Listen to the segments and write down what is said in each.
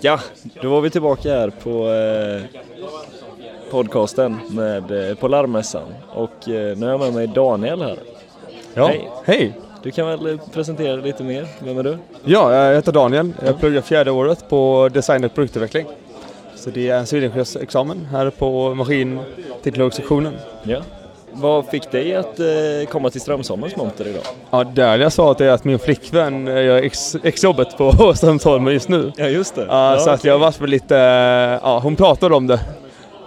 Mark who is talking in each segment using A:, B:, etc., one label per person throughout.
A: Ja, då var vi tillbaka här på eh, podcasten med, eh, på larmmässan och eh, nu har jag med mig Daniel här.
B: Ja.
A: Hej.
B: Hej.
A: Du kan väl eh, presentera dig lite mer, vem är du?
B: Ja, jag heter Daniel. Jag pluggar fjärde året på design och produktutveckling. Så det är en civilingenjörsexamen här på maskinteknologsektionen.
A: Ja. Vad fick dig att eh, komma till Strömsholmens monter idag?
B: Ja, där jag sa att det är att min flickvän eh, gör ex- exjobbet på Strömsholmen just nu.
A: Ja just det.
B: Ja, så att jag har varit med lite, eh, ja hon pratade om det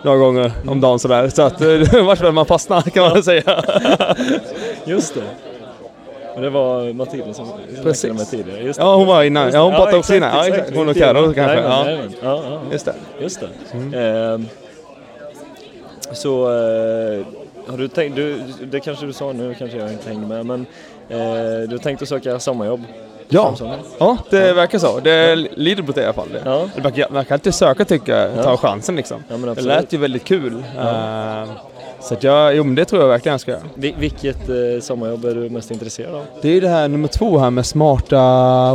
B: några gånger om dagen sådär. Så att eh, det har varit med man fastnar kan man säga.
A: Just det. Och det var Matilda som
B: Precis.
A: snackade med tidigare. Just det.
B: Ja, hon var innan.
A: Just det.
B: Ja, hon pratade också
A: exakt,
B: innan. Ja, exakt. Hon och
A: Matilda.
B: Carol kanske.
A: Jajamän,
B: Ja,
A: jajamän. Ja, ja, ja.
B: just det.
A: Just det. Ehm, så eh, har du tänkt, du, det kanske du sa nu, kanske jag inte hängde med, men eh, du tänkte söka sommarjobb?
B: Ja,
A: Samsung.
B: ja det verkar så. Det lider mot det i alla fall. Det.
A: Ja.
B: Det verkar, verkar alltid söka tycker jag, ta chansen liksom.
A: men
B: det
A: absolut.
B: lät ju väldigt kul. Ehm, så att jag, jo men det tror jag verkligen jag ska göra.
A: Vi, vilket eh, sommarjobb är du mest intresserad av?
B: Det är ju det här nummer två här med smarta,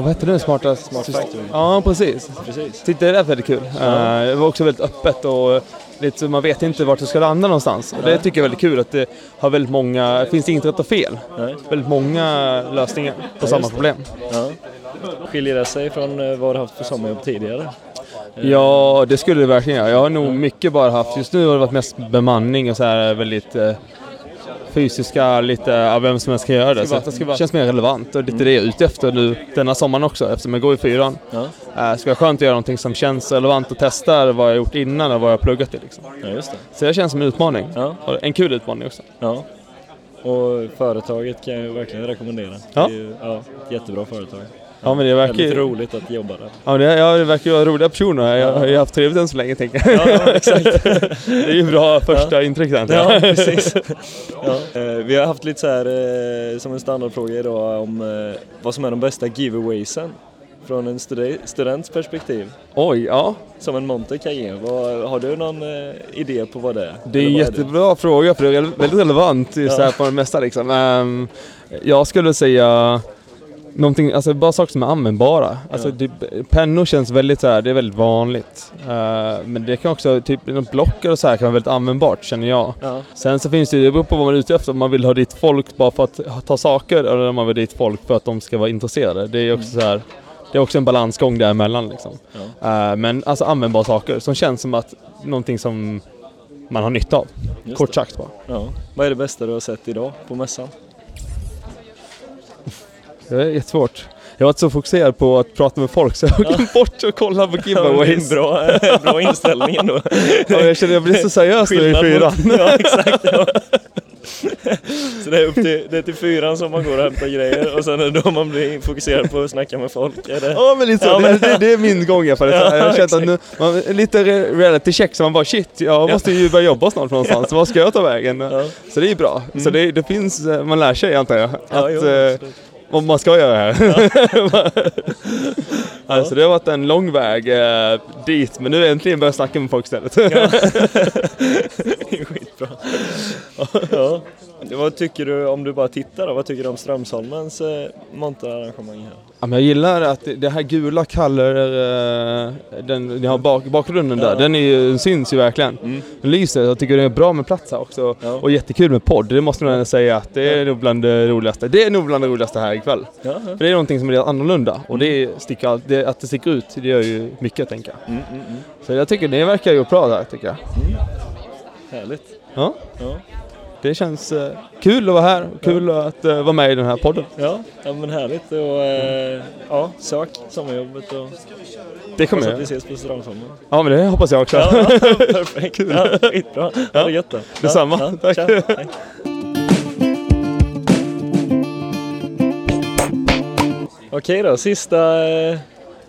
B: vad heter det? Smarta... Smart
A: factory.
B: Ja, precis.
A: Precis.
B: Tyckte det lät väldigt kul. Ehm, det var också väldigt öppet och lite, så man vet inte vart det ska landa någonstans. Och det tycker jag är väldigt kul att det har väldigt många, det finns inget rätt och fel.
A: Nej.
B: Väldigt många lösningar på samma
A: det.
B: problem.
A: Ja. Skiljer det sig från eh, vad du haft för sommarjobb tidigare?
B: Ja, det skulle det verkligen göra. Jag har nog mycket bara haft, just nu har det varit mest bemanning och så här väldigt eh, fysiska, lite, ja, vem som helst kan göra det. Så det känns mer relevant och lite det jag är ute efter nu denna sommaren också eftersom jag går i fyran.
A: Ja.
B: Eh, ska vara skönt att göra någonting som känns relevant och testa vad jag gjort innan och vad jag har pluggat till. Liksom.
A: Ja, just det.
B: Så det känns som en utmaning.
A: Ja.
B: Och En kul utmaning också.
A: Ja. Och företaget kan jag verkligen rekommendera.
B: Ja.
A: Det är, ju- ja ett jättebra företag.
B: Ja, men det verkar
A: Väldigt
B: ju
A: roligt att jobba där.
B: ja, det, ja, det verkar ju vara roliga personer. Jag har ju haft trevligt än så länge tänker jag.
A: Ja, exakt.
B: Det är ju bra första intryck där. tänker jag.
A: Ja, precis. Ja. Eh, Vi har haft lite så här eh, som en standardfråga idag om eh, vad som är de bästa giveawaysen från en stude- students perspektiv
B: Oj, ja.
A: som en monter kan ge. Vad, har du någon eh, idé på vad det är?
B: Det är
A: Eller
B: en
A: vad
B: jättebra fråga för det är rele- väldigt relevant just
A: Ja.
B: här på det mesta liksom. Ehm, jag skulle säga någonting, alltså bara saker som är användbara. Alltså, typ, pennor känns väldigt så här, det är väldigt vanligt. Ehm, men det kan också, typ något block och så här kan vara väldigt användbart känner jag.
A: Ja,
B: Sen så finns det ju, det beror på vad man är ute efter, om man vill ha dit folk bara för att ta saker eller om man vill ha dit folk för att de ska vara intresserade. Det är ju också
A: Mm.
B: så här, det är också en balansgång däremellan liksom. Eh, men alltså användbara saker som känns som att någonting som man har nytta av.
A: Just
B: Kort sagt bara.
A: ja. Vad är det bästa du har sett idag på mässan?
B: Det är jättesvårt. Jag var inte så fokuserad på att prata med folk så jag glömde bort att kolla på giveaways.
A: Ja, men det är en bra, bra inställning ändå.
B: Ja, jag känner jag blir så seriös nu i
A: Skillnad
B: fyran.
A: mot- Ja, exakt. Ja. Så det är, upp till, det är till fyran som man går och hämtar grejer och sen är det då man blir fokuserad på att snacka med folk. Är det?
B: Ja men lite så,
A: Ja, men-
B: Det, det, det är min gång i alla fall.
A: Ja,
B: jag har känt att nu, man, lite re- reality check så man bara shit, jag måste ju börja jobba snart någonstans, var ska jag ta vägen? Så det är ju bra. Så det, det finns, eh, man lär sig antar jag,
A: Mm. Ja,
B: att,
A: jo,
B: eh,
A: absolut.
B: vad man ska göra här. alltså det har varit en lång väg eh, dit, men nu äntligen börjar jag snacka med folk istället.
A: Det är Skitbra. Ja. Vad tycker du, om du bara tittar då, vad tycker du om Strömsholmens eh, monterarrangemang här?
B: Ja, men jag gillar att det- det här gula kaller, eh, den, ni har bak, bakgrunden där, den är ju, den syns ju verkligen. Den lyser, jag tycker det är bra med plats här också.
A: Mm. Ja.
B: Och jättekul med podd, det måste man ändå säga att det är nog bland det roligaste. Det är nog bland det roligaste här ikväll.
A: Ja, ja.
B: För det är någonting som är lite annorlunda och det
A: Mm.
B: sticker, all- det, att det sticker ut, det gör ju mycket tänker jag.
A: mm,
B: Så jag tycker det verkar ju bra där tycker jag.
A: Härligt.
B: Ja.
A: Ja.
B: Det känns eh, kul att vara här, och kul att eh, vara med i den här podden.
A: Ja, ja men härligt och eh, ja, sök sommarjobbet och
B: Det kommer
A: så
B: jag
A: att vi
B: göra.
A: ses på Strömsholmen.
B: Ja men det hoppas jag också.
A: Ja, perfekt. Ja, skitbra. Ha det gött då.
B: Detsamma.
A: Ja,
B: Tack.
A: tja. Hej. Okej då, sista eh,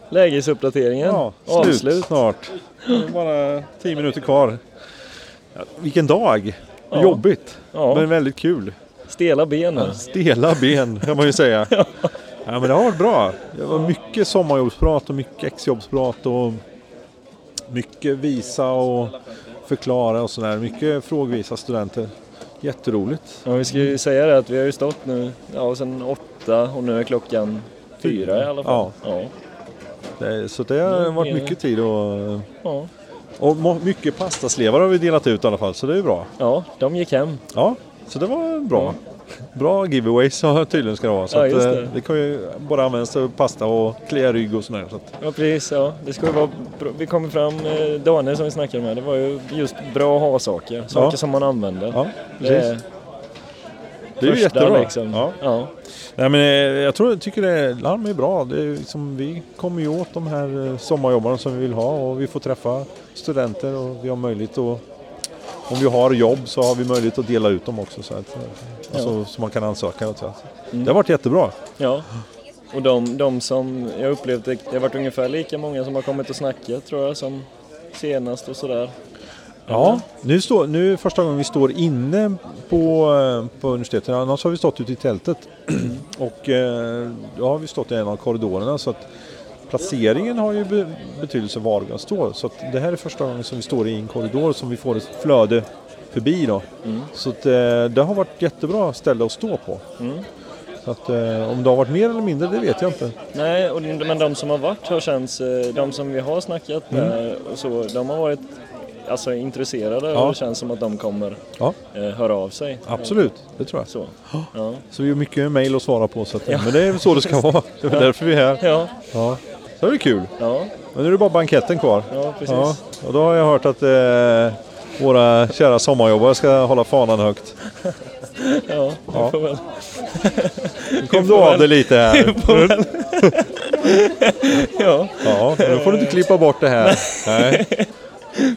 A: lägesuppdateringen.
C: Ja, slut,
A: Avslut.
C: snart. Det är bara tio minuter kvar. Ja, vilken dag!
A: Ja.
C: Jobbigt,
A: Ja.
C: men väldigt kul.
A: Stela ben här.
C: Stela ben kan man ju säga. ja, men det har varit bra. Det var mycket sommarjobbsprat och mycket exjobbsprat och mycket visa och förklara och sådär. Mycket frågvisa studenter. Jätteroligt.
A: Ja, vi ska ju säga det att vi har ju stått nu ja, sen åtta och nu är klockan fyra i alla fall.
C: Ja.
A: Ja.
C: Det, så det har varit mycket tid och,
A: Ja.
C: och må- mycket pastaslevar har vi delat ut i alla fall så det är ju bra.
A: ja, de gick hem.
C: Ja, så det var bra. Bra giveaways så tydligen ska det vara. Så
A: Ja,
C: att,
A: just
C: eh,
A: det.
C: det kan ju bara användas till pasta och klia rygg och sådär. Så att,
A: Ja precis, ja. Det ska ju vara bra. Vi kommer fram, eh, Daniel som vi snackade med, det var ju just bra att ha saker. Saker
C: Ja.
A: som man använder.
C: ja,
A: det är
C: precis. Det är ju
A: första,
C: jättebra.
A: Liksom.
C: Ja.
A: Ja.
C: Nej, men, eh, jag tror, tycker det, larm är bra. Det är liksom, vi kommer ju åt de här eh, sommarjobbarna som vi vill ha och vi får träffa studenter och vi har möjlighet att om vi har jobb så har vi möjlighet att dela ut dem också så att, eh, alltså, så man kan ansöka. Och så.
A: Mm.
C: Det har varit jättebra.
A: Ja. Och de, de som jag upplevt, det det har varit ungefär lika många som har kommit och snackat tror jag som senast och sådär.
C: Ja, nu, står, nu är det första gången vi står inne på, eh, på universitetet. Annars har vi stått ute i tältet. Och eh, då har vi stått i en av korridorerna. Så att placeringen har ju be- betydelse var vi står. Så att det här är första gången som vi står i en korridor som vi får ett flöde förbi. Då. Så att, eh, det har varit jättebra ställe att stå på. Så att, eh, om det har varit mer eller mindre, det vet jag inte.
A: Nej, och, men de som har varit har känts, eh, de som vi har snackat
C: Mm.
A: med och så, de har varit alltså, intresserade
C: Ja.
A: och det känns som att de kommer
C: Ja,
A: eh, höra av sig.
C: absolut. Det tror jag.
A: Så. Ja.
C: Så vi har mycket mejl att svara på. Så att, Men det är väl så det ska vara. Det är väl därför vi är här.
A: Ja,
C: Ja. Så är det kul.
A: ja,
C: Men nu är det bara banketten kvar.
A: ja, precis.
C: Ja, och då har jag hört att eh, våra kära sommarjobbare ska hålla fanan högt.
A: Ja, vi
C: Ja.
A: får väl.
C: Kom du av det lite här?
A: Ja,
C: Ja, men då får du inte klippa bort det här. Nej,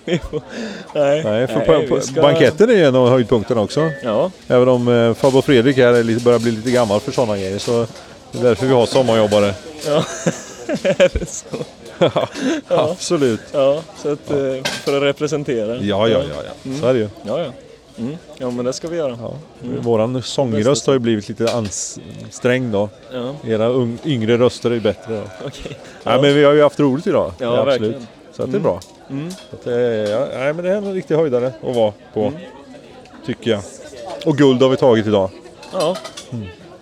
A: vi får. Nej,
C: nej för på,
A: vi
C: på,
A: ska-
C: banketten är ju en av höjdpunkterna också.
A: Ja,
C: Även om eh, farbror Fredrik här är lite, börjar bli lite gammal för sådana grejer så det är därför vi har sommarjobbare.
A: ja. Är det så?
C: Absolut.
A: Ja, så att, eh, för att representera.
C: Ja, ja, ja, ja. så är det ju.
A: Ja, ja. Mm. ja men det ska vi göra.
C: Ja.
A: Mm.
C: Våran sångröst har ju blivit lite ansträngd då.
A: Ja,
C: Era ung, yngre röster är ju bättre då.
A: okej.
C: Nej, men vi har ju haft roligt idag.
A: Ja, verkligen. Mm.
C: Så att det är bra. Så att, eh, ja, nej, men det är en riktig höjdare att vara på.
A: Mm.
C: Tycker jag. Och guld har vi tagit idag.
A: Ja,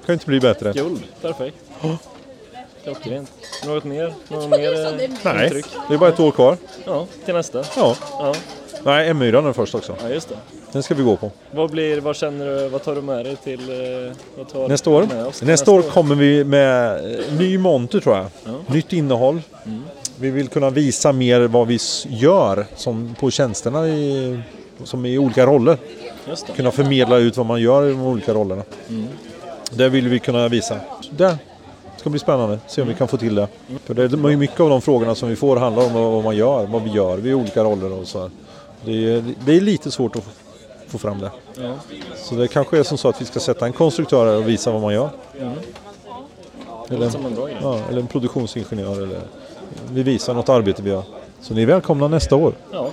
C: Kan inte bli bättre.
A: guld. Perfekt. Klockrent. Något mer? Något mer eh,
C: Nej,
A: intryck?
C: det är bara ett år kvar.
A: Ja, till nästa.
C: Ja.
A: Ja,
C: Nej, M4 är den först också.
A: ja just det.
C: Den ska vi gå på.
A: Vad blir, vad känner du, vad tar du med dig till, eh, vad tar
C: Nästa år?
A: Med oss
C: Nästa,
A: till
C: år kommer vi med eh, ny monter tror jag.
A: Ja. Mm.
C: Nytt innehåll. Vi vill kunna visa mer vad vi s- gör som på tjänsterna i, som i olika roller.
A: Just det.
C: kunna förmedla ut vad man gör i de olika rollerna. Det vill vi kunna visa. Så Det ska bli spännande, se om vi kan få till det. För det är ju mycket av de frågorna som vi får handlar om vad vad man gör, vad vi gör vid olika roller och så här. Det är, det är lite svårt att få- få fram det.
A: Ja.
C: Så det kanske är som så att vi ska sätta en konstruktör här och visa vad man gör.
A: Det låter som en bra grej.
C: Ja, eller en produktionsingenjör eller vi visar något arbete vi gör. Så ni är välkomna nästa år.
A: Ja,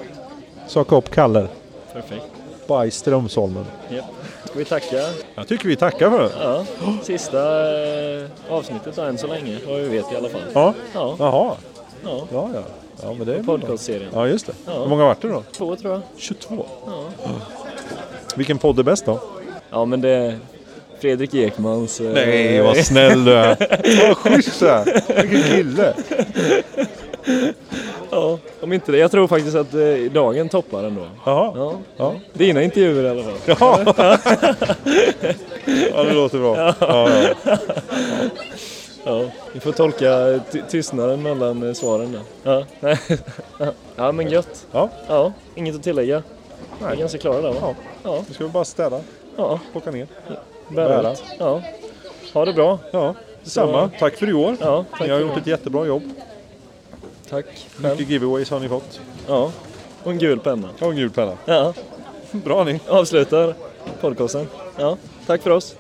C: Söka upp Kaller
A: perfekt.
C: by Strömsholmen.
A: Japp. Vi tackar.
C: Jag tycker vi tackar för det.
A: Ja, sista eh, avsnittet än så länge, vad vi vet i alla fall.
C: Ja.
A: Ja,
C: Jaha.
A: ja.
C: Ja, ja. Ja, men det är bra.
A: Podcastserien.
C: Ja, just det.
A: Ja.
C: Hur många vart det då?
A: Två tror jag.
C: 22. Vilken podd är bäst då?
A: Ja, men det är Fredrik Ekmans... eh,
C: vad snäll du är. Vad schysst du är. Vilken kille.
A: Ja, om inte det. Jag tror faktiskt att eh, dagen toppar ändå.
C: Jaha.
A: Ja.
C: Ja.
A: Dina intervjuer i alla fall.
C: Ja, det låter bra. Ja, ja.
A: Ja, vi får tolka ty- tystnaden mellan eh, svaren där. Ja, nej. ja men gött.
C: ja.
A: Ja, inget att tillägga. Vi är
C: Nej.
A: ganska klara där va?
C: Ja.
A: Ja,
C: Nu ska vi bara städa,
A: ja
C: plocka ner.
A: bära,
C: Bära.
A: ut. Ja. Ha det bra.
C: Ja, detsamma. Tack för i år.
A: Ja, tack
C: Ni har
A: för
C: gjort
A: det.
C: ett jättebra jobb.
A: Tack själv.
C: Mycket giveaways har ni fått.
A: Ja, och en gul penna.
C: Och en gul penna.
A: Ja,
C: Bra ni.
A: avslutar podcasten. Ja, tack för oss.